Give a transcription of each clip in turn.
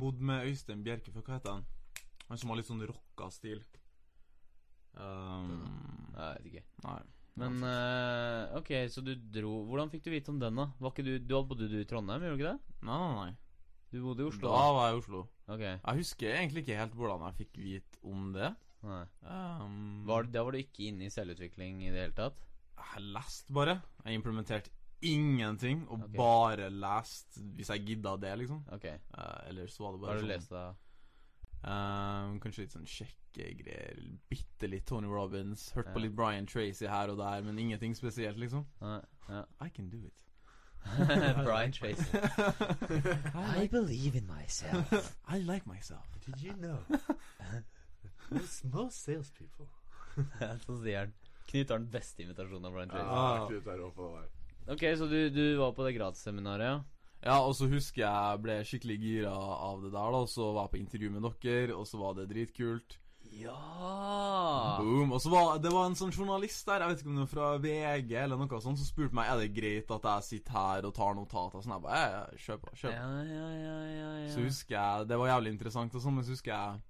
bodd med Øystein Bjerke før. Hva heter han? Han som har litt sånn rocka stil. Um, Nei, Jeg vet ikke. nei. Men eh, ok, så du dro Hvordan fikk du vite om den, da? Var ikke du, du bodde du i Trondheim, gjorde du ikke det? Nei, nei, nei. Du bodde i Oslo. Da var jeg i Oslo. da. Ok, Jeg husker egentlig ikke helt hvordan jeg fikk vite om det. nei Um, var, Da var du ikke inne i selvutvikling i det hele tatt? Jeg leste bare. Jeg implementerte ingenting, og Ok. bare lest hvis jeg gidda det, liksom. Ok, Eh, ellers var det hva bare har du sånn- lest da? Ehm, kanskje litt sånn sjekkegreier. Bitte litt Tony Robins. Hørt på Ja. litt Brian Tracy her og der, men ingenting spesielt, liksom. Nei, ja. I can do it. Brian Tracy. I believe in myself. I like myself. Did you know? most, most salespeople. så sier han Knut har den beste invitasjonen av Brian Tracy. Ah, Knut er rå på det der. Ok, så du, du var på det gratisseminaret, ja? Ja, og så husker jeg ble skikkelig gira av det der, da. Og så var jeg på intervju med dere, og så var det dritkult. Ja! Boom. Og så var det var en sånn journalist der, jeg vet ikke om det var fra VG eller noe sånt, som spurte meg er det greit at jeg sitter her og tar notater. Sånn, jeg bare ja, ja, kjør på. Ja, Kjør på. ja, ja, ja, ja. Så husker jeg Det var jævlig interessant og sånn, men så husker jeg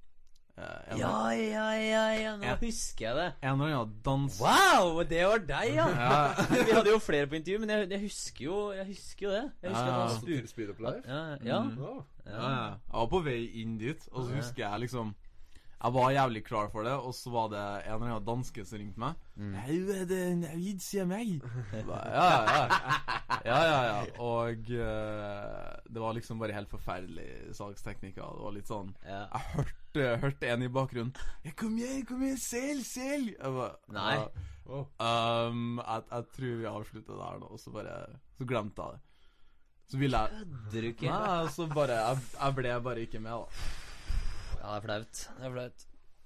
eh, en, Ja, ja, ja, ja, nå Ja. husker jeg det. en eller annen dans... Wow, det var deg, ja! Ja, Vi hadde jo flere på intervju, men jeg, jeg husker jo Jeg husker jo det. Jeg Ja. Mm. husker at han Altså, spurte til Speed Up Life? ja, ja, Wow. ja, ja. Jeg var på vei inn dit, og så husker jeg liksom Jeg var jævlig klar for det, og så var det en eller annen danske som ringte meg. Hei, er det Navid sier meg? Jeg ba, Ja, ja, ja. ja, ja, ja. Og eh, det var liksom bare helt forferdelig salgsteknikker. Det var litt sånn ja. Jeg hørte, hørte en i bakgrunnen. Ja, 'Kom igjen, kom igjen, selg, selg!' Jeg ba, Nei. «Ja, Wow. Um, jeg, jeg tror vi avslutta der nå, og så bare Så glemte jeg det. Så ville jeg Kødder du ikke? Nei, så bare jeg, jeg ble bare ikke med, da. Ja, det er flaut. Det er flaut.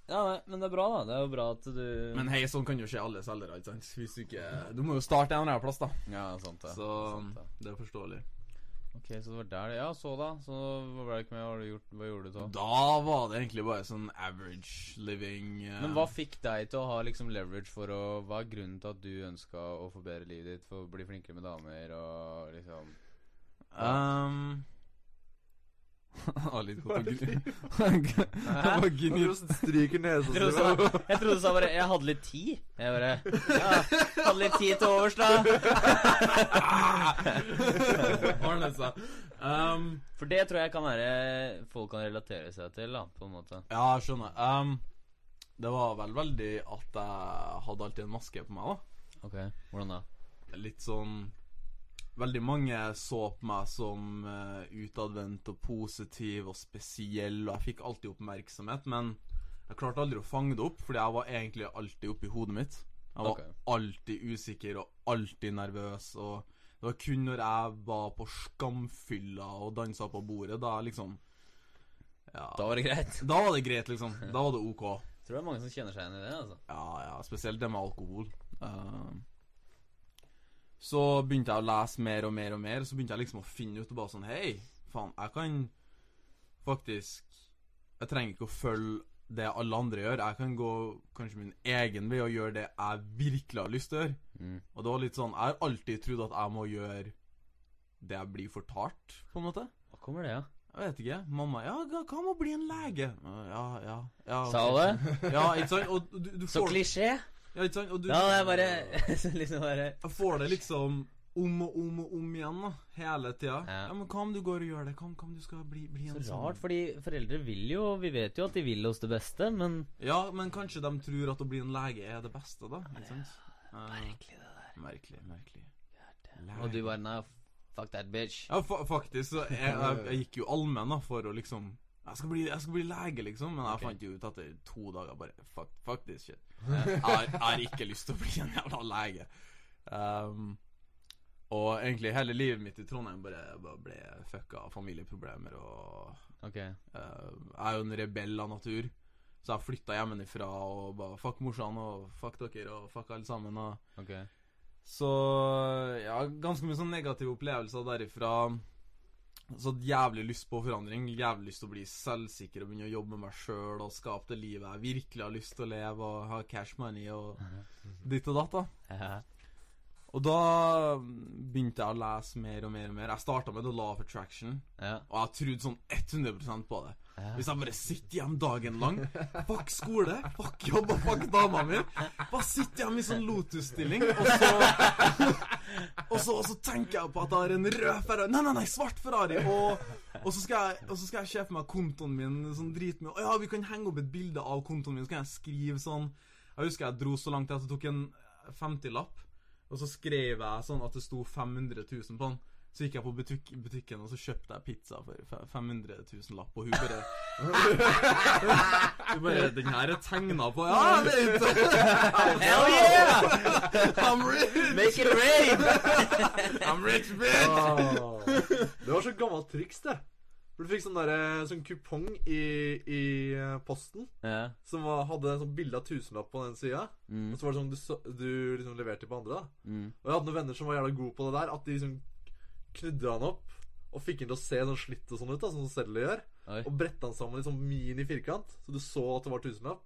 Ja, nei, men det er bra, da. Det er jo bra at du Men hei, sånn kan jo skje alle selgere, ikke sant? Hvis du ikke Du må jo starte en eller annen plass, da. Ja, sant det. Så Sant det. det er forståelig. Ok, så det var der det Ja, så da. Så hva ble det ikke med? Hva, har du gjort? hva gjorde du da? Da var det egentlig bare sånn average living eh, Men hva fikk deg til å ha liksom leverage for å Hva er grunnen til at du ønska å forbedre livet ditt? For å bli flinkere med damer og liksom um, Ah, litt godt å gni Det var gni Hvordan stryker nesa Jeg trodde du sa- jeg trodde du sa bare 'jeg hadde litt tid'. Jeg bare ja, 'Hadde litt tid til overs, da'. Ordnet seg. Um, For det tror jeg kan være folk kan relatere seg til, da, på en måte. Ja, jeg skjønner. Ehm, det var vel veldig at jeg hadde alltid en maske på meg, da. Ok, Hvordan da? Litt sånn Veldig mange så på meg som eh, utadvendt og positiv og spesiell, og jeg fikk alltid oppmerksomhet, men jeg klarte aldri å fange det opp, fordi jeg var egentlig alltid oppi hodet mitt. Jeg var Ok. alltid usikker og alltid nervøs, og det var kun når jeg var på skamfylla og dansa på bordet, da jeg liksom ja, Da var det greit. da var det greit, liksom. Da var det OK. Tror det er mange som kjenner seg igjen i det. altså Ja, ja, spesielt det med alkohol. Ehm, så begynte jeg å lese mer og mer og mer, så begynte jeg liksom å finne ut og bare sånn Hei, faen, jeg kan faktisk Jeg trenger ikke å følge det alle andre gjør. Jeg kan gå kanskje min egen vei og gjøre det jeg virkelig har lyst til å gjøre. Mm. Og det var litt sånn Jeg har alltid trodd at jeg må gjøre det jeg blir fortalt, på en måte. Hva kommer det, ja? Jeg vet ikke. Mamma Ja, hva hva med å bli en lege? Ja, ja. ja Sa ok. hun det? Ja, ikke sant? Og du, du Så får klisjé. ja, ikke sant? Og du Ja, det er bare så liksom bare jeg får det liksom om og om og om igjen, da. Hele tida. Ja. Ja. men hva om du går og gjør det? Hva om, hva om du skal bli, bli en Så sånn? rart, fordi foreldre vil jo Vi vet jo at de vil oss det beste, men Ja, men kanskje de tror at å bli en lege er det beste, da. Ikke sant? Eh, Merkelig, det der. merkelig, merkelig. Og du bare Nei, fuck that bitch. Ja, fa faktisk. Så jeg, jeg, jeg gikk jo allmenn da, for å liksom jeg skal, bli, jeg skal bli lege, liksom, men jeg Ok. fant jo ut etter to dager bare Fuck, fuck this shit. Jeg har, jeg har ikke lyst til å bli en jævla lege. Um, og egentlig hele livet mitt i Trondheim bare, bare ble fucka av familieproblemer og Ok. Eh, Jeg er jo en rebell av natur, så jeg flytta hjemmefra og bare Fuck morsan og fuck dere og fuck alle sammen. Og. ok Så ja, ganske mye sånn negative opplevelser derifra. Så hadde jeg jævlig lyst på forandring. Jævlig lyst til å bli selvsikker og begynne å jobbe med meg sjøl og skape det livet jeg virkelig har lyst til å leve og ha cash money og ditt og datt. da Ja. Og da begynte jeg å lese mer og mer og mer. Jeg starta med The Law of Attraction, Ja. og jeg trodde sånn 100 på det. Ja. Hvis jeg bare sitter hjemme dagen lang, fuck skole, fuck jobb og fuck dama mi Bare sitter hjemme i sånn lotus-stilling, og så og så, og så tenker jeg på at jeg har en rød Ferrari Nei, nei, nei, svart Ferrari! Og, og, så, skal jeg, og så skal jeg se for meg kontoen min sånn dritmye. Å ja, vi kan henge opp et bilde av kontoen min, så kan jeg skrive sånn Jeg husker jeg dro så langt at jeg tok en 50-lapp, og så skrev jeg sånn at det sto 500 000 på den. Så gikk jeg på butikk, butikken og så kjøpte jeg pizza for fe- 500 000 lapp, og hun bare Hun bare 'Den her er tegna på'. Ja, jeg vet Hell yeah! I'm rich! Make it rain! I'm rich, bitch! Åh. Det var så gammelt triks, det. For Du fikk sånn, derre- sånn kupong i, i eh, posten Ja. som var, hadde sånn bilde av tusenlapp på den sida. Mm. Og så var det sånn du, så- du liksom leverte til på andre. da Mm. Og jeg hadde noen venner som var jævla gode på det der. At de liksom knudde han opp og fikk han til å se sånn slitt og sånn ut, da, sånn som sedler gjør. Oi. Og bretta han sammen i sånn mini-firkant, så du så at det var tusenlapp.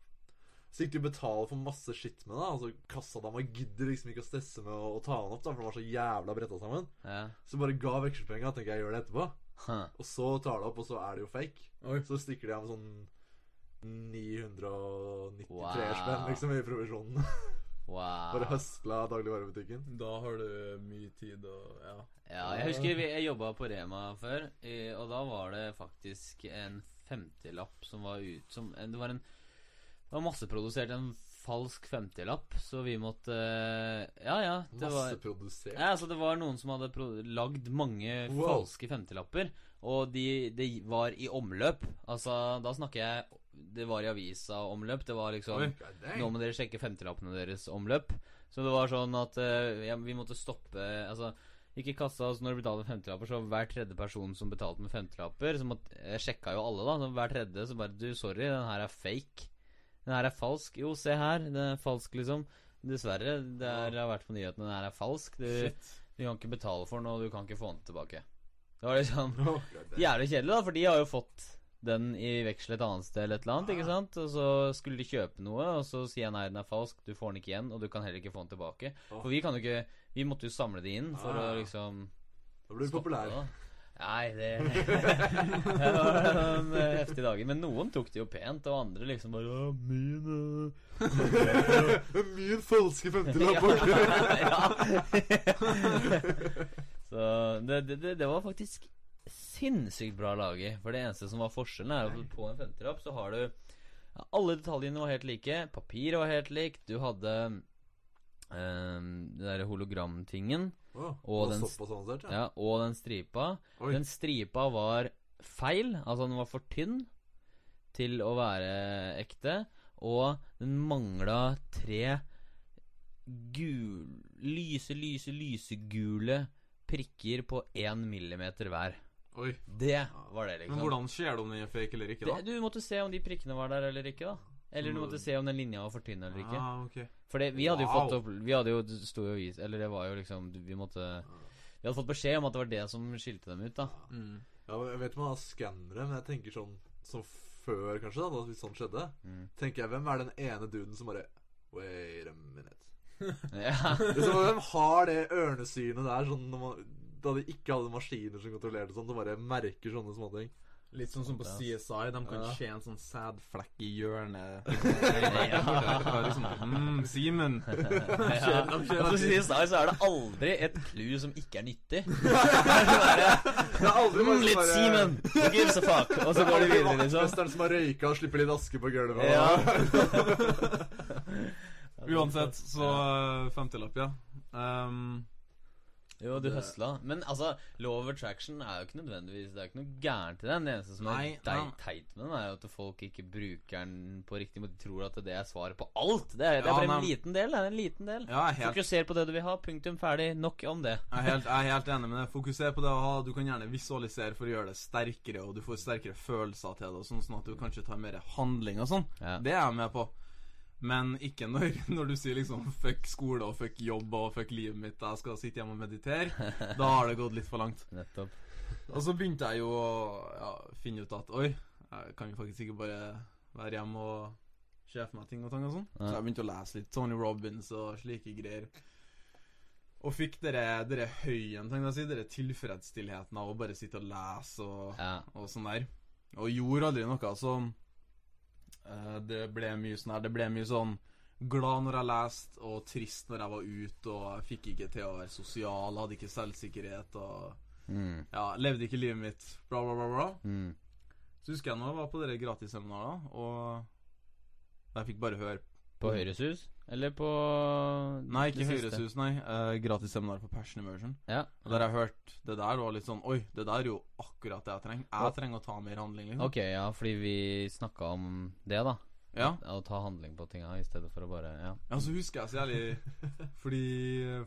Så gikk du og betalte for masse skitt med det, altså, og så kassadama gidder liksom ikke å stresse med å, å ta han opp, da, for det var så jævla bretta sammen. Ja. Så bare ga vekselspenga, tenker jeg gjør det etterpå. Huh. Og så tar det opp, og så er det jo fake. Oi. Så stikker de av med sånn 993 Wow. spenn liksom i provisjonen. Bare Wow. høsla dagligvarebutikken. Da har du mye tid og ja. Ja, jeg husker vi- jeg jobba på Rema før, eh, og da var det faktisk en 50-lapp som var ut som en- Det var en Det var masseprodusert en falsk 50-lapp, så vi måtte eh, Ja, ja. Det var, Masseprodusert. ja, altså det var noen som hadde pro- lagd mange Wow. falske 50-lapper, og de, de var i omløp. Altså, da snakker jeg Det var i avisa-omløp. Det var liksom Oi. God Nå dang. må dere sjekke 50-lappene deres omløp. Så det var sånn at eh, ja, vi måtte stoppe Altså, ikke kassa altså når du betalte 50-lapper, så hver tredje person som betalte med 50-lapper så måtte, Jeg sjekka jo alle, da. Så hver tredje så bare Du, sorry, den her er fake. Den her er falsk. Jo, se her. Den er falsk, liksom. Dessverre. Det er, har vært på nyhetene. Den her er falsk. Du, Shit. du kan ikke betale for den, og du kan ikke få den tilbake. Det var liksom Oh, God dang. Jævlig kjedelig, da, for de har jo fått den i veksel et annet sted eller et eller annet, ikke sant? Og så skulle de kjøpe noe, og så sier jeg nei, den er falsk, du får den ikke igjen, og du kan heller ikke få den tilbake. For vi kan jo ikke Vi måtte jo samle det inn for Ah. å liksom Da blir du stoppe populær. det, da. Nei, det Det var noen eh, heftige dager. Men noen tok det jo pent, og andre liksom bare «Å, min eh». Min falske femtilapp. Ja. Så det, det, det, det var faktisk sinnssykt bra laget. For det eneste som var forskjellen, er at på en femtelapp så har du ja, Alle detaljene var helt like. Papiret var helt likt. Du hadde ehm, det derre hologramtingen. Wow. Og det var den- såpass avansert, ja. Ja, og den stripa. Oi. Den stripa var feil. Altså, den var for tynn til å være ekte. Og den mangla tre gul, lyse, lyse, lysegule prikker på én millimeter hver. Oi. Det var det, liksom. Men hvordan ser du om den er fake eller ikke, da? det, du måtte se om de prikkene var der eller ikke, da. Eller du måtte se om den linja var for tynn eller ikke. Ah, ok. For det, vi hadde jo fått Wow. opp Vi hadde jo det sto jo i Eller det var jo liksom Vi måtte Ah. Vi hadde fått beskjed om at det var det som skilte dem ut, da. Mm. Ja, men jeg vet man har skannere, men jeg tenker sånn som før, kanskje, da, da hvis sånt skjedde. Mm. Tenker jeg, Hvem er den ene duden som bare Wait a minute. Ja. Liksom, hvem har det ørnesynet der, sånn når man, da de ikke hadde maskiner som kontrollerte sånn, og bare merker sånne småting? Litt sånn som på CSI. De kan Ja. se en sånn sædflekk i hjørnet. Ja. Det var liksom, mm, Simen. Ja. de Og kjører- så sies det, så er det aldri et clou som ikke er nyttig. Det er aldri Mm, litt Simen! Who gives a fuck? Og så går de videre, liksom. Vaktmesteren som har røyka og slipper litt aske på gulvet. Ja. Uansett, så eh, 50-lapp, ja. Ehm, Jo, du høsla. Men altså, law of attraction er jo ikke nødvendigvis Det er jo ikke noe gærent i den. Det eneste som Nei, er dei- nei. teit med den, er jo at folk ikke bruker den på riktig måte. De tror at det er svaret på alt. Det er, det Ja, er bare en nei. liten del. Det er en liten del. ja, jeg er helt Fokuser på det du vil ha. Punktum ferdig. Nok om det. Jeg er helt, jeg er helt enig med det. Fokuser på det å ha. Du kan gjerne visualisere for å gjøre det sterkere, og du får sterkere følelser til det, og sånn, sånn at du kanskje tar mer handling og sånn. Ja. Det er jeg med på. Men ikke når, når du sier liksom 'fuck skole' og 'fuck jobb' og 'fuck livet mitt', jeg skal sitte hjemme og meditere. Da har det gått litt for langt. Nettopp. Og så begynte jeg jo å ja, finne ut at oi, jeg kan jo faktisk ikke bare være hjemme og se for meg ting og tang og sånn. Så Nei. jeg begynte å lese litt Tony Robins og slike greier. Og fikk dere, dere høyen, tenkte jeg å si, dere tilfredsstillheten av å bare sitte og lese og, Ja. og sånn der. Og gjorde aldri noe, så eh, det ble mye sånn her, det ble mye sånn glad når jeg leste, og trist når jeg var ute, og jeg fikk ikke til å være sosial, hadde ikke selvsikkerhet, og Mm. ja, levde ikke livet mitt, bla bla bla bla. Mm. Så husker jeg når jeg var på dere gratisseminarer, og jeg fikk bare høre På Høyresus? Eller på Nei, ikke det siste? Høyresus, nei. Uh, Gratisseminar på Passion Immersion. Ja. Og Der jeg hørte det der, var litt sånn Oi, det der er jo akkurat det jeg trenger. Jeg trenger å ta mer handling, liksom. Ok, ja, fordi vi snakka om det, da. Ja. Å ta handling på tinga i stedet for å bare Ja. ja, så husker jeg så jævlig Fordi,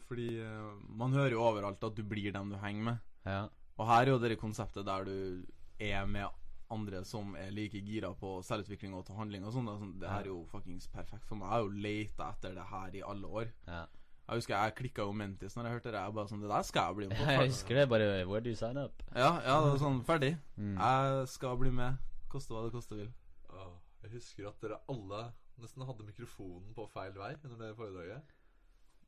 fordi eh, man hører jo overalt at du blir dem du henger med. ja. Og her er jo det konseptet der du er med andre som er like gira på selvutvikling og ta handling og sånn. Det er sånn, Det her er jo fuckings perfekt for meg. Jeg har jo leita etter det her i alle år. Ja. Jeg husker jeg klikka jo mentis når jeg hørte det. Jeg bare sånn Det der skal jeg bli med på. Jeg Ferdig. husker det. Bare Where do you sign up? Ja, ja, det var sånn Ferdig. Mm. Jeg skal bli med. Koste hva det koste vil. Åh, Jeg husker at dere alle nesten hadde mikrofonen på feil vei under det foredraget.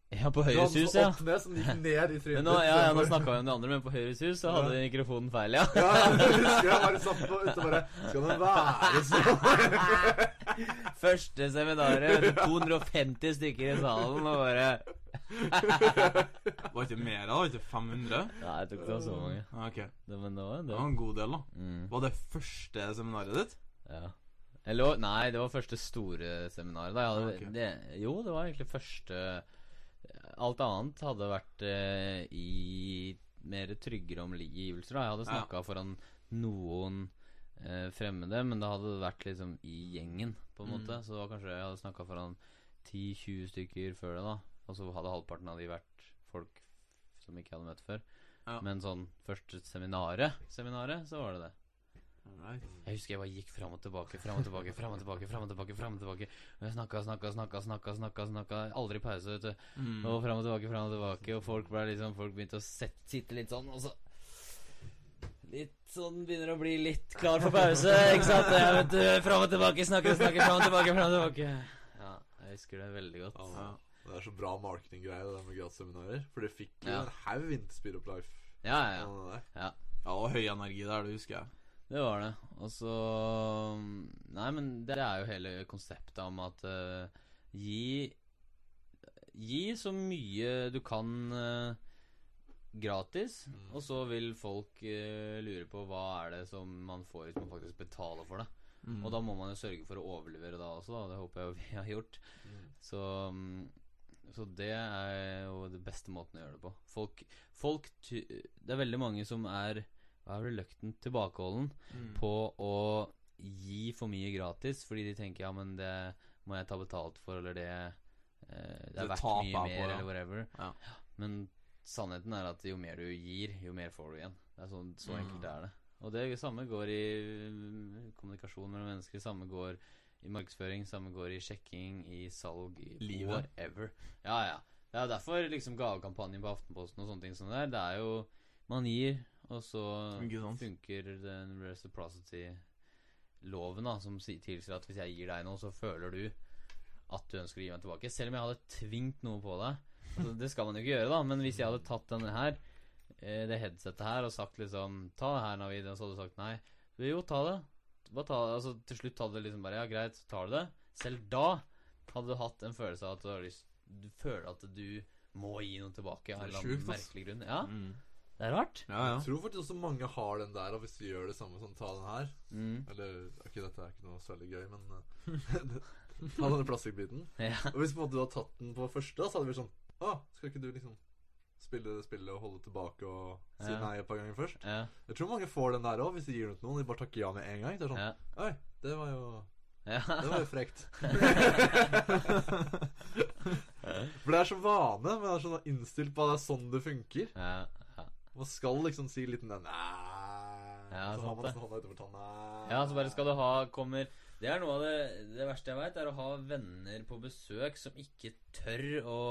Ja, på Du hadde den Høyresus, så ja. opp ned, så den gikk ned i trynet Men nå, ditt, ja, ja, nå så- snakka vi om det andre, men på Høyres hus så hadde mikrofonen feil, ja. Ja, jeg husker jeg bare satt på ute og bare Skal den være sånn? Første seminaret, vet du, 250 stykker i salen, og bare Var ikke mer da? Var ikke 500? Nei, jeg tror ikke det var så mange. Ja, Ok. Det- Men det var en Det var del. en god del, da. Mm, Var det første seminaret ditt? ja. Eller var- nei, det var første store seminaret. Da. Jeg hadde, Ah, Ok. det, jo, det var egentlig første eh, Alt annet hadde vært eh, i mer tryggere omgivelser. Da. Jeg hadde Ja. snakka foran noen eh, fremmede, men det hadde vært liksom i gjengen, på en Mm. måte. Så det var kanskje jeg hadde snakka foran 10-20 stykker før det, da. Og så hadde halvparten av de vært folk som ikke hadde møtt før. Ja. Men sånn første seminaret, seminaret, så var det det. Alright. Jeg husker jeg bare gikk fram og tilbake, fram og tilbake, fram og tilbake. Fram og tilbake, frem og tilbake Og jeg snakka, snakka, snakka, snakka, snakka, snakka. Aldri pause, vet du. Mm. Og fram og tilbake, fram og tilbake. Og folk ble liksom Folk begynte å sette, sitte litt sånn, og så Litt sånn begynner å bli litt klar for pause, ikke sant? Ja, vet du, Fram og tilbake, snakke, snakke, fram og tilbake, fram og tilbake. Ja, jeg husker det veldig godt. Ja. Det er så bra marketinggreie, det der med gratisseminarer. For dere fikk jo Ja. en haug Interspirit of Life. Ja, ja, ja. Ja. Ja, og høy energi der, det husker jeg. Det var det. Og så Nei, men det er jo hele konseptet om at eh, gi Gi så mye du kan eh, gratis, Mm. og så vil folk eh, lure på hva er det som man får hvis man faktisk betaler for det. Mm. Og da må man jo sørge for å overlevere da også, da. Det håper jeg jo vi har gjort. Mm. Så, mm, så det er jo den beste måten å gjøre det på. Folk, folk ty Det er veldig mange som er Hva er det løkten? Tilbakeholden Mm. på å gi for mye gratis, fordi de tenker ja, men det må jeg ta betalt for, eller det eh, Det Det er verdt taper jeg mye på, mer, ja. eller whatever. Ja. Men sannheten er at jo mer du gir, jo mer får du igjen. Det er sånn, Så Mm. enkelt er det. Og det samme går i mm, kommunikasjon mellom mennesker, samme går i markedsføring, samme går i sjekking, i salg, i Livet. whatever. Ja, ja. Det er derfor liksom gavekampanjen på Aftenposten og sånne ting som det er. Det er jo Man gir, og så Ikke sant? funker den reciprocity-loven, da, som si- tilsier at hvis jeg gir deg noe, så føler du at du ønsker å gi meg tilbake. Selv om jeg hadde tvingt noe på deg. Altså, det skal man jo ikke gjøre, da, men hvis jeg hadde tatt denne her, eh, det headsetet her, og sagt liksom Ta det her, Navid, og så hadde du sagt nei. Jo, ta det. Bare ta det. Altså, til slutt hadde det liksom bare Ja, greit, så tar du det. Selv da hadde du hatt en følelse av at du, har lyst, du føler at du må gi noe tilbake av en Det eller er annen sjukt, ass. merkelig grunn. Ja, Mm. det er rart. Ja, ja. Jeg tror faktisk også mange har den der, og hvis vi gjør det samme som ta den her Mm. Eller ok, dette er ikke noe særlig gøy, men eh, Ta denne plastikkbiten. Ja. Og hvis på en måte du hadde tatt den på første, da, så hadde det vært sånn Å, skal ikke du liksom spille det spillet og holde tilbake og si Ja. nei et par ganger først? Ja, Jeg tror mange får den der òg, hvis de gir den til noen. De bare takker ja med en gang. Det er sånn ja, Oi, det var jo ja. Det var jo frekt. For det er så vane. Man er sånn innstilt på at det er sånn det funker. ja, ja. Man skal liksom si litt den Nei Ja, Så har sant man det. nesten hånda utover tanna. Ja, så bare skal du ha kommer Det er noe av det, det verste jeg veit, er å ha venner på besøk som ikke tør å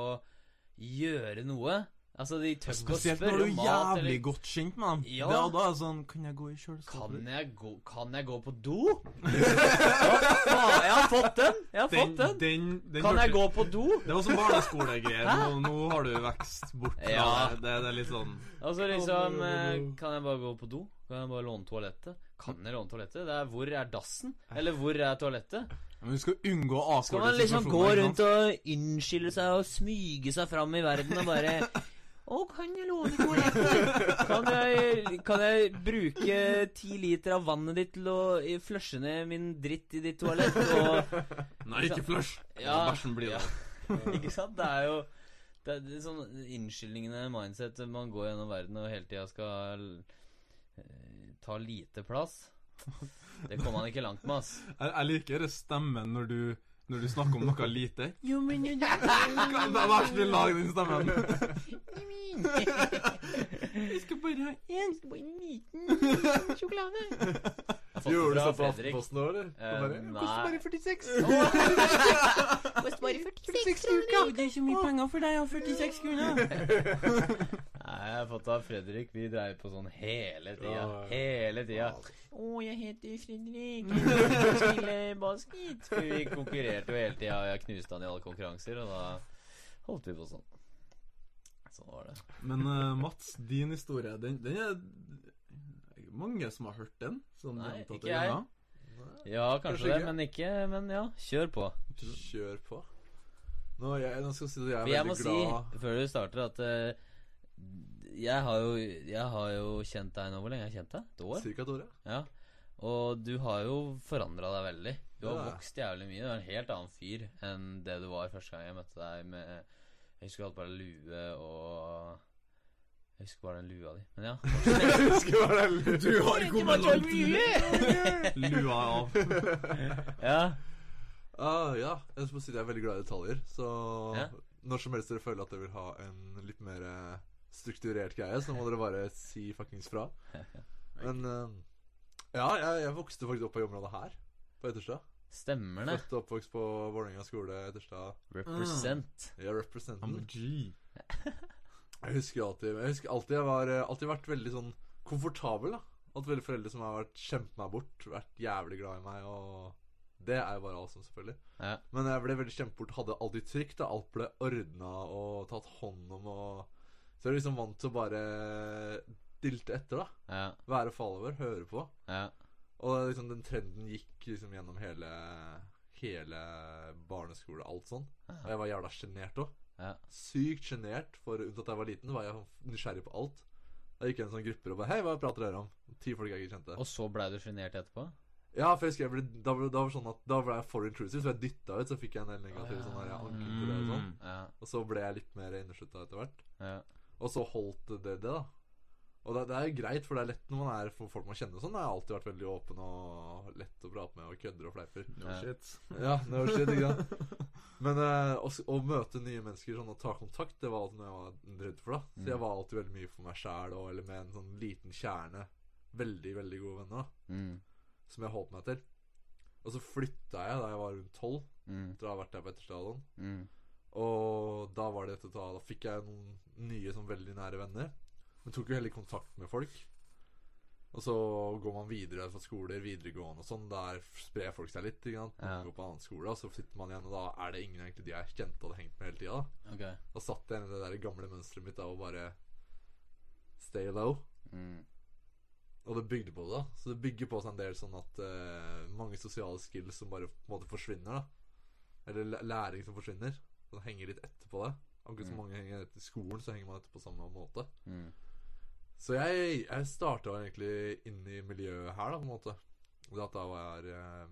gjøre noe. Altså, de tør ikke å Spesielt når du er spørre om mat. jævlig Eller, godt kjent med dem. Ja. Det er da sånn Kan jeg gå i kan, kjøleskapet? jeg gå, kan jeg gå på do? Hva faen? Jeg har fått den! Jeg har fått den! den, den Kan jeg hørte- gå på do? Det var sånn barneskolegreier. Nå, nå har du vekst bort fra Ja. det. det. Det er litt sånn Altså liksom eh, Kan jeg bare gå på do? Kan jeg bare låne toalettet? Kan jeg låne toalettet? Det er hvor er dassen? Eller hvor er toalettet? Men du skal unngå Skal avkorte man liksom gå rundt og unnskylde seg og smyge seg fram i verden og bare å, kan jeg låne toalettet? Kan jeg, kan jeg bruke ti liter av vannet ditt til å eh, flushe ned min dritt i ditt toalett? Og, Nei, ikke flush! Ja. Ja. Bæsjen blir Ja. der. ikke sant? Det er jo det er det er sånn innskyldningene mindset man går gjennom verden og hele tida skal eh, ta lite plass. Det kommer man ikke langt med, ass. Jeg, jeg liker det stemmen når du, når du snakker om noe lite. Jo, men Kan- Vær så snill, lag den stemmen. Jeg skal bare ha én. Skal bare ha en liten sjokolade. Gjorde du sånn på Aftenposten nå, eller? Eh, Og bare, nei. Koster bare 46. Koster bare 46 kroner. Det er så mye penger for deg, og 46 kroner. Nei, jeg har fått av Fredrik. Vi dreier på sånn hele tida. Ja, ja. Hele tida. Ja. altså. Å, jeg heter Fredrik. Jeg skal spille basket. For vi konkurrerte jo hele tida, og jeg knuste han i alle konkurranser, og da holdt vi på sånn. Sånn var det. Men eh, Mats, din historie, den, den er mange som har hørt den. Sånn Nei, gjentatte ikke jeg. ganger. Ja, kanskje Kanskje det, ikke. men ikke. Men ja, kjør på. Kjør på. Nå, jeg, nå skal jeg si at For jeg er jeg må veldig glad si, før du starter, at eh, jeg, har jo, jeg har jo kjent deg nå. Hvor lenge har jeg kjent deg? Et år? Cirka et år, ja. Ja. Og du har jo forandra deg veldig. Du har Ja. vokst jævlig mye. Du er en helt annen fyr enn det du var første gang jeg møtte deg med Jeg husker du hadde bare lue og Jeg husker bare den lua di. Men ja. Husker hva det er. Du har kommet langt! Lua er av. ja. Ah, ja. Jeg må si at jeg er veldig glad i detaljer, så Ja. når som helst dere føler at dere vil ha en litt mer eh, strukturert greie, så må dere bare si fuckings fra. Men eh, ja, jeg, jeg vokste faktisk opp i området her, på Etterstad. Stemmer det. Født og oppvokst på Vålerenga skole, Etterstad. Represent. Jeg er representant. I'm a G. Jeg husker alltid Jeg husker alltid jeg var eh, alltid vært veldig sånn komfortabel, da. Alltid veldig foreldre som har vært kjempet meg bort, vært jævlig glad i meg, og det er jo bare awesome, selvfølgelig. Ja. Men jeg ble veldig kjempet bort, hadde alltid trygt, da. Alt ble ordna og tatt hånd om og Så jeg er liksom vant til å bare dilte etter, da. Ja. Være follower, høre på. Ja. Og liksom den trenden gikk liksom gjennom hele Hele barneskole, alt sånn. Og jeg var jævla sjenert òg. Ja. Sykt sjenert, for unntatt jeg var liten, var jeg nysgjerrig på alt. Da gikk jeg i en sånn grupper og bare Hei, hva prater dere om? Ti folk jeg ikke kjente. Og så blei du sjenert etterpå? Ja, for jeg husker jeg ble, da, ble, da var det sånn at Da ble jeg for intrusive, så jeg dytta ut, så fikk jeg en del negative sånn her, ja, anker på det Mm. og sånn. Ja. Og så ble jeg litt mer inneslutta etter hvert. ja. Og så holdt det det, da. Og det, det er jo greit, for det er lett når man er for folk man kjenner og sånn. Jeg har alltid vært veldig åpen og lett å prate med og kødder og fleiper. No shit. Ja, det var shit, ikke sant? Men eh, å, s- å møte nye mennesker sånn og ta kontakt, det var alltid noe jeg var redd for. da Så jeg var alltid veldig mye for meg sjæl, eller med en sånn liten kjerne. Veldig, veldig gode venner da Mm. som jeg holdt meg til. Og så flytta jeg da jeg var rundt tolv, Mm. etter å ha vært der på Etterstadion. Mm. Og da var det dette da Da fikk jeg noen nye sånn veldig nære venner. Men tok jo heller kontakt med folk. Og så går man videre fra skoler, videregående og sånn. Der sprer folk seg litt. Ikke sant? Man Ja. går på annen skole, og så sitter man igjen, og da er det ingen egentlig de jeg kjente og hadde hengt med hele tida. Da. Ok. da satt jeg igjen i det der gamle mønsteret mitt av å bare stay low. Mm. Og det bygde på det. da Så det bygger på seg en del sånn at eh, mange sosiale skills som bare på en måte forsvinner. da Eller læ- læring som forsvinner. Som henger litt etter på det. Akkurat som Mm. mange henger etter i skolen, så henger man etter på samme måte. Mm. Så jeg, jeg starta egentlig inn i miljøet her, da, på en måte. Og da da var jeg, eh,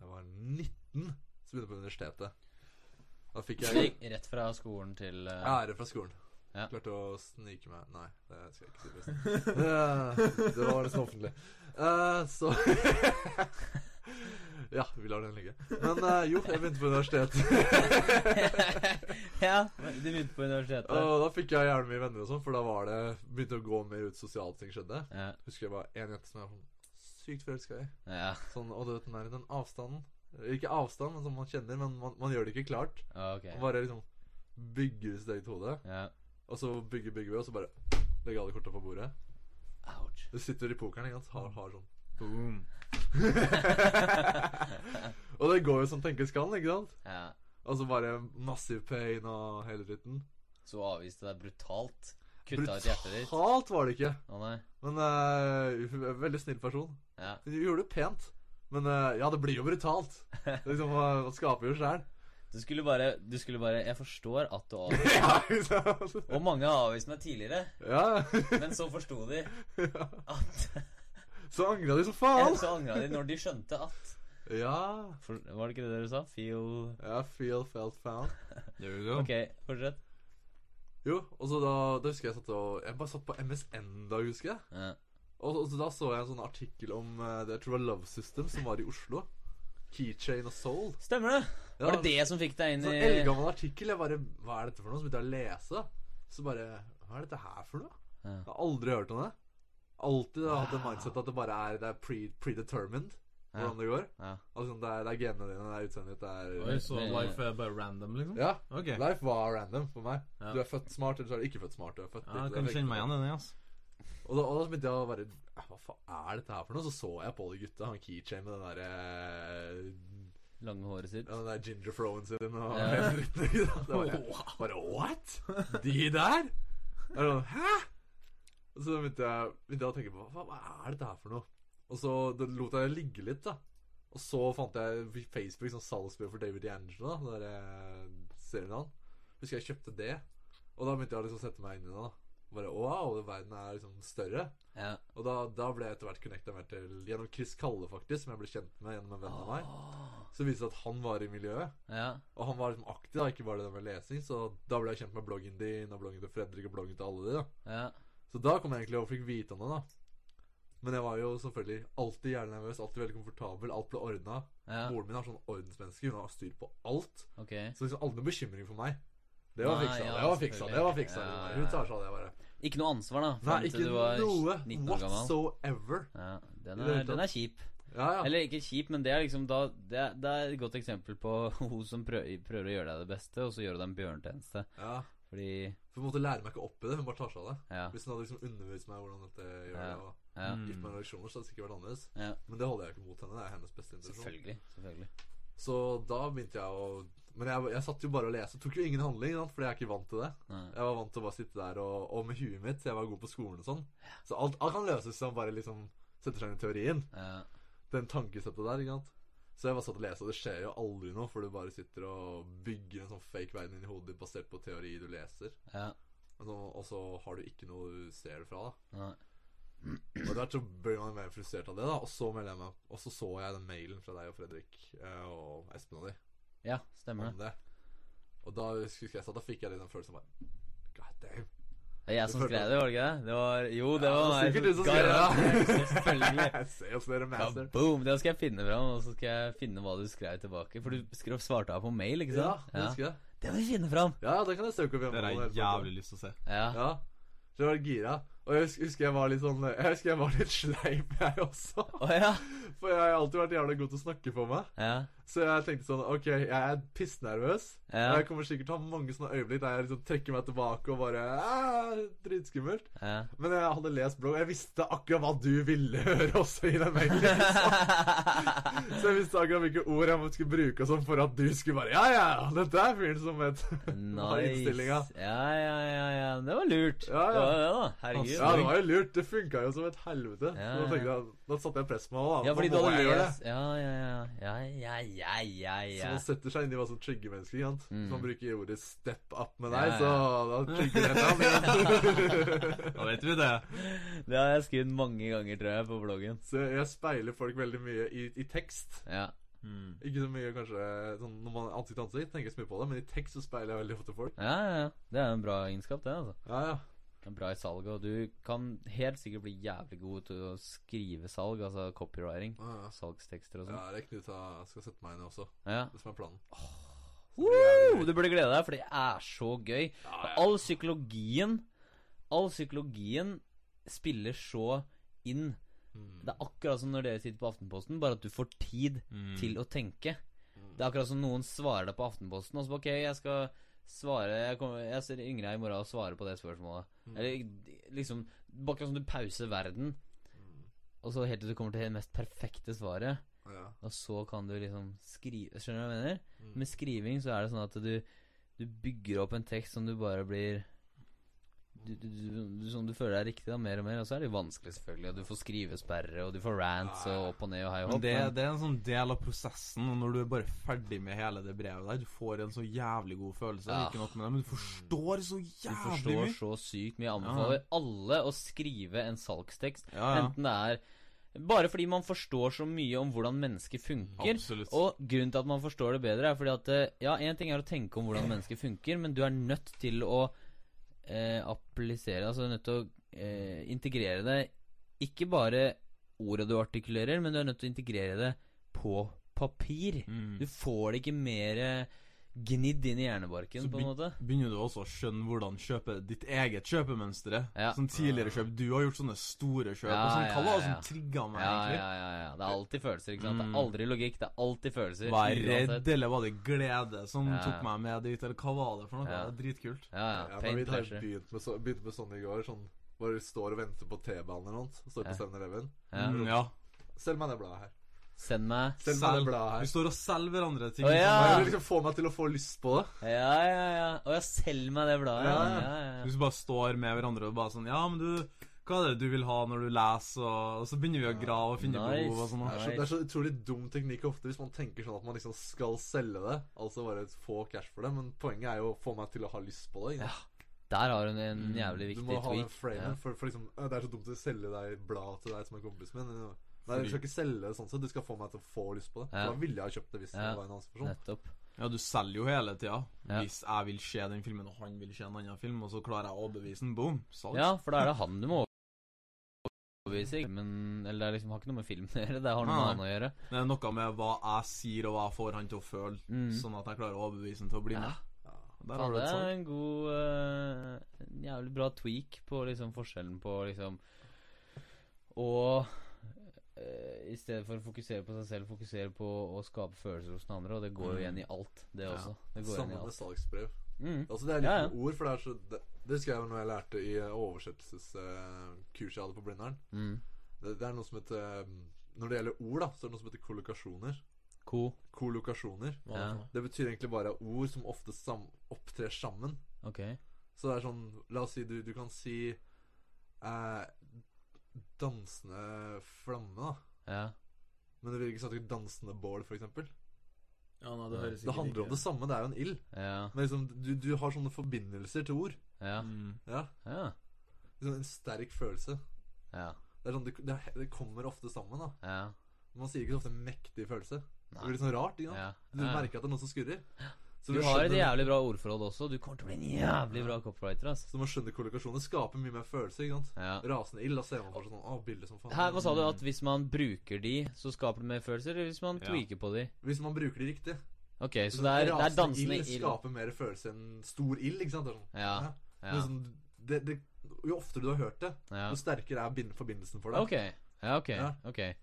jeg var 19, så begynte jeg på universitetet. Da fikk Så jeg gikk rett fra skolen til eh, Ære fra skolen. Ja. Klarte å snike meg Nei, det skal jeg ikke si. forresten. Eh, det var liksom offentlig. Eh, så Ja, vi lar den ligge. Men eh, jo, jeg begynte på universitet. ja, du begynte på universitetet. Og da fikk jeg gjerne mye venner og sånn, for da var det begynte å gå mer ut sosiale ting skjedde. Ja, Husker jeg var en jente som jeg var sånn sykt forelska i. ja, Sånn, og du vet den der den avstanden. Ikke avstand, men som man kjenner, men man, man gjør det ikke klart. ok. Man bare liksom bygger sitt eget hode. Ja, Og så bygger, bygger vi, og så bare legger alle korta på bordet. Ouch. Du sitter i pokeren, ikke sant? Har, har sånn. Boom. og det går jo som tenkes kan, ikke sant? Ja. Altså bare massiv pain og hele dritten. Så avviste deg brutalt. Kutta ut hjertet ditt. Brutalt var det ikke, Å nei. men eh, veldig snill person. Ja. Du gjorde det pent, men eh, ja, det blir jo brutalt. Det er Liksom, eh, Man skaper jo sjæl. Du skulle bare Du skulle bare Jeg forstår at du avviste ja, liksom. Og mange har avvist meg tidligere, ja. men så forsto de at Så angra de som faen. Så angra de når de skjønte at Ja. for, Var det ikke det dere sa? Feel ja. Feel felt found. There you go. Ok, fortsett. Jo, og så da, da husker jeg satt og Jeg bare satt på MSN da, husker jeg. Ja. Og, og så da så jeg en sånn artikkel om eh, det jeg tror det var Love System, som var i Oslo. Keychain og Soul. Stemmer det? Ja, Var det eh, det som fikk deg inn Sånn i eldgammel artikkel. Jeg bare Hva er dette for noe? Så begynte jeg å lese. Så bare Hva er dette her for noe? Ja. Jeg har aldri hørt om det. Alltid hatt det Wow. mindsettet at det bare er Det er pre predetermined Ja. hvordan det går. Ja. Altså, det er, det er genene dine, det er utseendet ditt, det Oi, er så Det- life er bare random, liksom? Ja. Ok. Life var random for meg. Ja. Du er født smart, eller så er du ikke født smart. Du er født Ja, litt- jeg kan du er kjenne meg igjen født- i altså? den, ass. Og da, og da begynte jeg å bare "Ja, Hva faen er dette her for noe? Så så jeg på de gutta, han keychain med den der eh, lange håret sitt? ja, Den der ginger froen sin og Ja. hele dritten, ikke sant? Det var bare, bare What?! De der?! Jeg var sånn, Hæ?! Og så begynte jeg, begynte jeg å tenke på hva, hva er dette her for noe? Og så da lot jeg det ligge litt, da. Og så fant jeg Facebook som salgsbyrå for David D'Angelo, da, den der eh, serien han. Husker jeg kjøpte det. Og da begynte jeg å liksom sette meg inn i det. da Bare wow, verden er liksom større. Ja. Og da, da ble jeg etter hvert connecta mer til Gjennom Chris Kalle, faktisk, som jeg ble kjent med gjennom en venn av meg. Ah. Så viste det seg at han var i miljøet. ja. Og han var liksom aktiv, da, ikke bare det med lesing. Så da ble jeg kjent med bloggen din og bloggen til Fredrik og bloggen til alle de. da Ja. Så da kom jeg egentlig og fikk vite om det, da. Men jeg var jo selvfølgelig alltid jævlig nervøs, alltid veldig komfortabel, alt ble ordna. Ja. Moren min er sånn ordensmenneske, hun har styr på alt. Ok. Så liksom aldri noen bekymring for meg. Det var Nei, fiksa, ja, det var fiksa, selvfølgelig. det var fiksa. Ja, ja, ja. Hun tar seg av det, bare. Ikke noe ansvar, da? Nei, fram til ikke du var noe 19 år gammel. whatsoever. Ja, den I det er, hele den tatt. er kjip. Ja, ja. Eller ikke kjip, men det er liksom da Det er, det er et godt eksempel på hun som prøver, prøver å gjøre deg det beste, og så gjør hun deg en bjørnetjeneste. ja. Fordi For hun måtte lære meg ikke opp i det, hun bare tar seg av det. Ja. Hvis hun hadde liksom undervist meg hvordan dette gjør Ja. det, og ja. Mm. gitt meg reaksjoner, så hadde det sikkert vært annerledes. Ja. Men det holder jeg ikke mot henne, det er hennes beste intensjon. Selvfølgelig. Selvfølgelig. Så da begynte jeg å Men jeg, jeg satt jo bare og leste. Tok jo ingen handling, ikke sant, fordi jeg er ikke vant til det. Nei. Jeg var vant til å bare sitte der og, og med huet mitt. Jeg var god på skolen og sånn. Så alt, alt kan løses hvis man bare liksom setter seg inn i teorien. Ja. Den tankesettet der, ikke sant. Så jeg bare satt og leste, og det skjer jo aldri noe, for du bare sitter og bygger en sånn fake verden inn i hodet ditt basert på teori du leser. ja. Og så, og så har du ikke noe du ser det fra, da. Nei. Og etter hvert så ble man mer frustrert av det, da. Og så meldte jeg meg. Og så så jeg den mailen fra deg og Fredrik eh, og Espen og de Ja, stemmer det. om det. Og da husker jeg satt, da fikk jeg litt den følelsen av bare God damn. Det er jeg som Du følte- skrev det, var det ikke det? det var, jo, det Ja, var det var meg. sikkert du som skrev garantert, det. Selvfølgelig. Se oss dere master. Boom, det skal jeg finne fram, og så skal jeg finne hva du skrev tilbake. For du skrev, svarte av på mail, ikke Ja, sant? jeg husker det. Det må vi finne fram! Ja, ja, det kan jeg søke opp. Det hjemme har på jeg hele tiden. jævlig lyst til å se. Ja. Ja. Så jeg var gira. Og jeg husker, husker jeg var litt sånn Jeg husker jeg var litt sleip, jeg også. Å ja. For jeg har alltid vært jævlig god til å snakke for meg. ja. Så jeg tenkte sånn Ok, jeg er pissnervøs. Ja. Jeg kommer sikkert til å ha mange sånne øyeblikk der jeg liksom trekker meg tilbake og bare «Ah, Dritskummelt. Ja. Men jeg hadde lest blogg, og jeg visste akkurat hva du ville høre også i den mailen. liksom. Så jeg visste akkurat hvilke ord jeg skulle bruke og sånn for at du skulle bare Ja, ja, dette er fyren som vet hva er nice. innstillinga. Ja, ja, ja, ja. Det var lurt. Ja, ja. Det var det, da. Herregud. Ja, det var jo lurt. Det funka jo som et helvete. Ja, Så da tenkte jeg, da satte jeg press på meg òg, da. Ja, fordi Nå du må hadde jeg gjøre lest Ja, ja, ja. Ja, ja, ja, ja, Så ja. man setter seg inn i hva som trigger mennesker. ikke sant? Mm. Hvis man bruker ordet 'step up' med Ja, deg, ja. så da trigger det et eller annet. Da vet vi det. Det har jeg skrevet mange ganger, tror jeg, på bloggen. Så jeg speiler folk veldig mye i, i tekst. Ja. Mm. Ikke så mye kanskje sånn, når man er ansikt til ansikt, tenker jeg så mye på det, men i tekst så speiler jeg veldig ofte folk. Ja, ja, ja. Det er en bra egenskap, det, altså. Ja, ja. Det er Bra i salg, og du kan helt sikkert bli jævlig god til å skrive salg, altså copywriting. Ja, ja. Salgstekster og ja sånn. det er Knut jeg skal sette meg inn i også. Ja. Det som er planen. Woo! Du burde glede deg, for det er så gøy. Ja, Og ja. all psykologien All psykologien spiller så inn. Mm. Det er akkurat som når dere sitter på Aftenposten, bare at du får tid Mm. til å tenke. Det er akkurat som noen svarer deg på Aftenposten, og så bare, ok, jeg skal svare Jeg, kommer, jeg ser ringer deg i morgen og svarer på det spørsmålet. Eller liksom Bare akkurat som du pauser verden, og så helt til du kommer til det mest perfekte svaret. Ja. Og så kan du liksom skrive Skjønner du hva jeg mener? Mm. Med skriving så er det sånn at du Du bygger opp en tekst som du bare blir du, du, du, du, Som du føler er riktig, da, mer og mer. Og så er det jo vanskelig, selvfølgelig. Og du får skrivesperre, og du får rants og opp og ned og hei og Men hopp. det, men- det er en sånn del av prosessen, og når du er bare ferdig med hele det brevet der, du får en så jævlig god følelse. Ja. Ikke nok med det, men du forstår så Du jævlig forstår mye. så sykt mye. Jeg anbefaler alle å skrive en salgstekst. Ja, ja. Enten det er Bare fordi man forstår så mye om hvordan mennesker funker. Absolutt. Og grunnen til at man forstår det bedre, er fordi at eh, Ja, én ting er å tenke om hvordan mennesker funker, men du er nødt til å eh, applisere Altså du er nødt til å eh, integrere det Ikke bare ordet du artikulerer, men du er nødt til å integrere det på papir. Mm. Du får det ikke mer eh, gnidd inn i hjernebarken, Så på en måte. Begynner du også å skjønne hvordan kjøpe ditt eget kjøpemønster er? Ja. Sånn tidligere kjøp. Du har gjort sånne store kjøp. Ja, og sånn, hva ja, var det ja. som trigga meg, Ja, egentlig? ja, ja, ja. Det er alltid følelser, ikke sant? Det Mm. er aldri logikk, det er alltid følelser. Var jeg uansett. redd, eller var det glede som Ja, ja. tok meg med dit, eller hva var det for noe? Ja. Det er dritkult. Ja, Ja, ja. men Pain vi har jo pleasure. begynt med, så, begynt med sånn i går. Sånn, bare står og venter på T-banen eller noe. Står Ja. på 7-Eleven. Ja. Mm, ja. Selg meg det bladet her. Send meg Selg meg Selg. det bladet Vi her. står og selger hverandre ting. Å, Ja, ja. det liksom Få meg til å få lyst på det. Ja, ja, ja. Å, jeg selger meg det bladet. Ja, Ja, ja. ja, ja. Hvis vi bare står med hverandre og bare sånn Ja, men du Hva er det du vil ha når du leser? Og, og så begynner vi å grave og finne Nice. behov og sånn. Det er, så, Nei. det er så utrolig dum teknikk ofte hvis man tenker sånn at man liksom skal selge det. Altså bare få cash for det. Men poenget er jo å få meg til å ha lyst på det. ikke sant? Der har hun en Mm, jævlig Du viktig må ha den tweak. framen. Ja. For, for liksom, «Å, det er så dumt å selge deg blad til deg som er kompis min. Nei, du skal ikke selge det sånn sett. Du skal få meg til å få lyst på det. Ja. For da ville jeg ha kjøpt det hvis Ja. det var en annen sånn. person. Nettopp. Ja, du selger jo hele tida. Ja. Hvis jeg vil se den filmen, og han vil se en annen film, og så klarer jeg å overbevise den, boom, salg. Ja, for da er det han du må overbevise. ikke? Men, eller det er liksom, har ikke noe med filmen å gjøre. Det har noe med Ah, Nei. han å gjøre. Det er noe med hva jeg sier, og hva jeg får han til å føle, Mm. sånn at jeg klarer å overbevise han til å bli Ja, med. Ja. Der faen, har du det et er salg. en god eh, en Jævlig bra tweak på liksom forskjellen på liksom Og eh, i stedet for å fokusere på seg selv, fokusere på å skape følelser hos den andre. Og det går jo Mm. igjen i alt, det Ja. også. Det går igjen i Samme med alt. salgsbrev. Mm. Altså Det er litt Ja, ja. med ord, for det er så Det, det husker jeg jo når jeg lærte i oversettelseskurset jeg hadde på Blindern. Mm. Det, det er noe som heter eh, Når det gjelder ord, da så er det noe som heter kollokasjoner. Ko. Kollokasjoner. Hva er det for noe? Det betyr egentlig bare ord som ofte sam, opptrer sammen. Ok. Så det er sånn La oss si du, du kan si eh, Dansende flamme, da. Ja. Men det vil ikke si at du dansende bål, for eksempel Ja, nei, det høres Det handler om det samme, det er jo en ild. Ja. Men liksom, du, du har sånne forbindelser til ord. Ja. Mm. Ja, Ja. liksom En sterk følelse. Ja. Det, er sånn, det, det, det kommer ofte sammen. da ja. Man sier ikke så ofte 'mektig følelse'. Det Nei. blir litt sånn rart. Ikke, sant? Ja. Du ja. merker at det er noe som skurrer. Så Du har et jævlig bra ordforråd også. Du kommer til å bli en jævlig bra copywriter. ass Så man skjønner kollokasjoner skaper mye mer følelse. ikke sant? ja. Rasende ild, da ser man for seg sånn Å, bildet som faen. Her, Hva sa du? At hvis man bruker de, så skaper det mer følelser? Eller hvis man Ja. tweaker på de? Hvis man bruker de riktig. Ok, så det er, det er dansende ild ild. skaper mer følelse enn stor ild, ikke sant? Det er sånn, Ja, Men Ja. sånn, det, det, jo oftere du har hørt det, ja. jo sterkere er bind- forbindelsen for deg. Ok. Ja, ok. Ja. Sånn. ok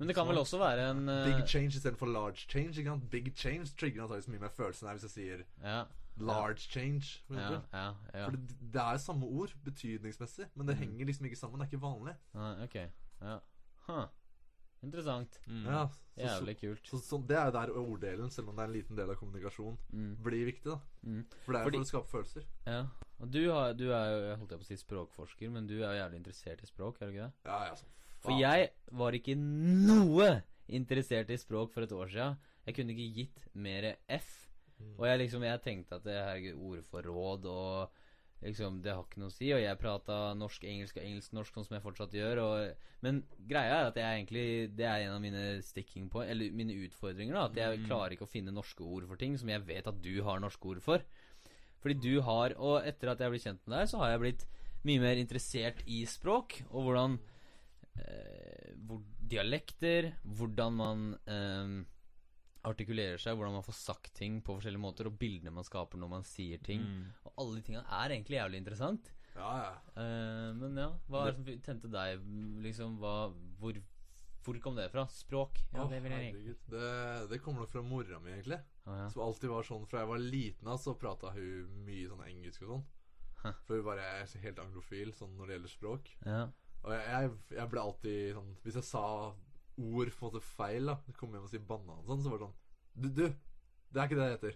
Men det kan vel også være en eh, Big change istedenfor large change. ikke sant? Big change trigger antakeligvis mye mer følelse enn det er hvis jeg sier ja, large change. For ja, eksempel. ja, ja. For det, det er samme ord betydningsmessig, men det Mm. henger liksom ikke sammen. Det er ikke vanlig. Nei, Ok. Ja. Huh. Interessant. Mm. Ja, så, Jævlig kult. så, så, så Det er jo der orddelen, selv om det er en liten del av kommunikasjon, Mm. blir viktig. da Mm. For det er jo Fordi- for å skape følelser. Ja. Og du, har, du er jo jeg holdt jeg på å si språkforsker, men du er jo jævlig interessert i språk, er du ikke det? Ja, ja, sånn. For jeg var ikke noe interessert i språk for et år siden. Jeg kunne ikke gitt mer F. Og jeg liksom, jeg tenkte at det her er ordforråd og liksom, det har ikke noe å si. Og jeg prata norsk, engelsk og engelsk-norsk, sånn som jeg fortsatt gjør. Og, men greia er at jeg egentlig, det er en av mine sticking point, eller mine utfordringer, da. At jeg Mm. klarer ikke å finne norske ord for ting som jeg vet at du har norske ord for. Fordi du har, og etter at jeg ble kjent med deg, så har jeg blitt mye mer interessert i språk, og hvordan eh, hvor, Dialekter, hvordan man eh, artikulerer seg, hvordan man får sagt ting på forskjellige måter, og bildene man skaper når man sier ting. Mm. Og alle de tingene er egentlig jævlig interessant. Ja, ja. Eh, men ja, hva er det som tente deg, liksom? Hva, hvor Hvor kom det fra? Språk? Ja, Å, det vil jeg egentlig herregud. det, det kommer nok fra mora mi, egentlig. Å, ja. Som alltid var sånn Fra jeg var liten av, så prata hun mye sånn engelsk og sånn. Hæ. For hun bare er helt anglofil sånn når det gjelder språk. ja. Og jeg, jeg, jeg ble alltid sånn Hvis jeg sa ord på en måte feil, da kom jeg hjem og sier banan og sånn, så var det sånn Du, du! Det er ikke det jeg heter.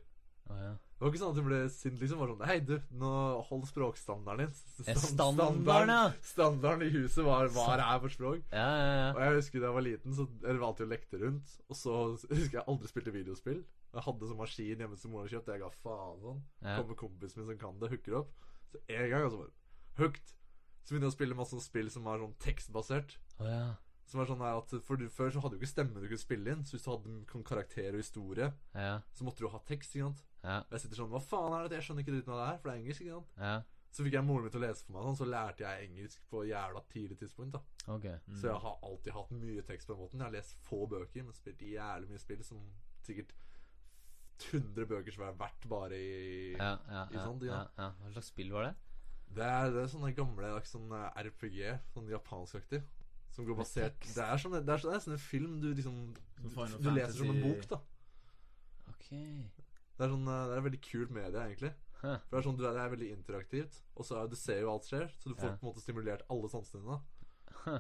Å, ja. Det var ikke sånn at du ble sint, liksom. Bare sånn Hei, du, nå hold språkstandarden din. Eh, Stand- Standarden, ja! Standarden i huset var hva det er for språk. Ja, ja, Og ja. jeg husker da jeg var liten, så jeg var alltid og lekte rundt. Og så husker jeg aldri spilte videospill. Jeg hadde sånn maskin hjemme som mor hadde kjøpt, og jeg ga faen sånn. Ja. Kommer kompisen min som kan det, hooker opp. Så en gang, altså bare hooked. Så begynte jeg å spille masse sånn spill som er sånn tekstbasert. Å, ja. Som er sånn her at For du, før så hadde du ikke stemme du kunne spille inn. Så hvis du hadde sånn karakter og historie, Ja, så måtte du ha tekst, ikke sant. ja, Og jeg sitter sånn Hva faen er det? Jeg skjønner ikke dritten av det her, for det er engelsk, ikke sant. ja. Så fikk jeg moren min til å lese for meg, sånn, så lærte jeg engelsk på jævla tidlig tidspunkt, da. Ok. Så jeg har alltid hatt mye tekst på den måten. Jeg har lest få bøker, men spilt jævlig mye spill som sikkert 100 bøker som er verdt bare i Ja, ja, Ikke ja, sant, ja. ja, ja. Hva slags spill var det? det, er, det er sånne gamle like, sånn RPG, sånn japanskaktig, som går basert tekst. Det er sånn det er, sånn, det er sånn en film du liksom Som Du, Final du leser som en Fantasy. bok, da. Ok. Det er, sånn, eh, det er et veldig kult medie, egentlig. Hæ. For Det er sånn, du er, det er veldig interaktivt, og så er, du ser jo alt skjer, så du får Ja. på en måte stimulert alle sansene dine. da. Hæ.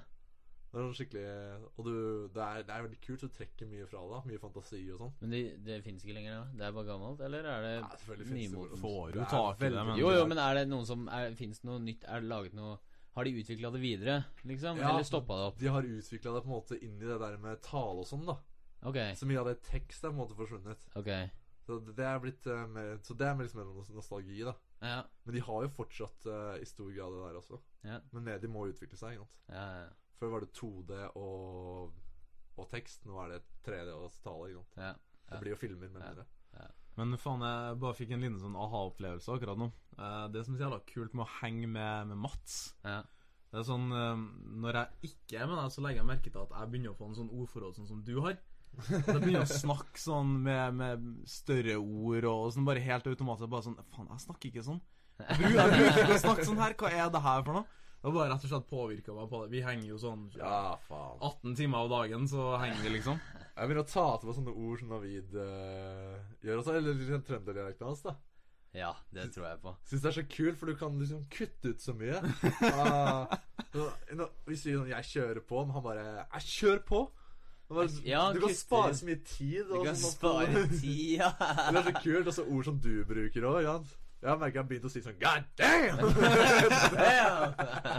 Det er sånn skikkelig Og du, det, er, det er veldig kult, så du trekker mye fra deg. Mye fantasi og sånn. Men det, det fins ikke lenger, da? Det er bare gammelt, eller er det Ja, selvfølgelig finnes det nymotens? hvordan- Får Det jo er tak i det, veldig- men Eh, Jo, jo, men er det noen som Fins det noe nytt? Er det laget noe Har de utvikla det videre, liksom? Ja. Eller stoppa det opp? De har utvikla det på en måte inn i det der med tale og sånn, da. Ok. Så mye av det tekst er på en måte forsvunnet. ok Så det- det er blitt eh, mer, Så det er liksom mer nos- nostalgi, da. Ja, Men de har jo fortsatt eh, i stor grad det der også. Ja. Men det, de må utvikle seg. ikke sant? ja, ja. Før var det 2D og, og tekst. Nå er det 3D og tale. ikke sant? ja. Ja. Det blir jo filmer, men Ja. mindre. Men faen, jeg bare fikk en liten sånn aha-opplevelse akkurat nå. Eh, Det som er så jævla kult med å henge med, med Mats Ja. Det er sånn eh, Når jeg ikke er med deg, så legger jeg merke til at jeg begynner å få en sånn ordforråd sånn som du har. At jeg begynner å snakke sånn med, med større ord og sånn bare helt automatisk. Bare sånn Faen, jeg snakker ikke sånn. Jeg bruker, jeg bruker ikke å snakke sånn her. Hva er det her for noe? Det har bare rett og slett påvirka meg på det. Vi henger jo sånn Ja, faen. 18 timer av dagen, så henger vi, liksom. Jeg begynner å ta til meg sånne ord som Navid eh, gjør også. Eller liksom trønderdialekten hans, da. ja, det tror jeg på. Syns det er så kult, for du kan liksom kutte ut så mye. Ah, så, nå, vi sier sånn 'jeg kjører på', men han bare 'jeg kjører på'. Han bare, Ja, du kan kutter. spare så mye tid. Du og kan sånn at- spare tida. det er så kult. Og så ord som du bruker òg. Ja. Jeg merker jeg har begynt å si sånn 'god damn'!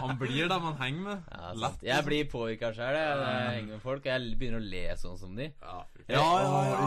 Han blir dem han henger med. Ja, sant. Lett. jeg blir påvirka sjøl. Jeg jeg henger med folk, og jeg begynner å le sånn som de. ja, fy faen. Ja, ja, ja,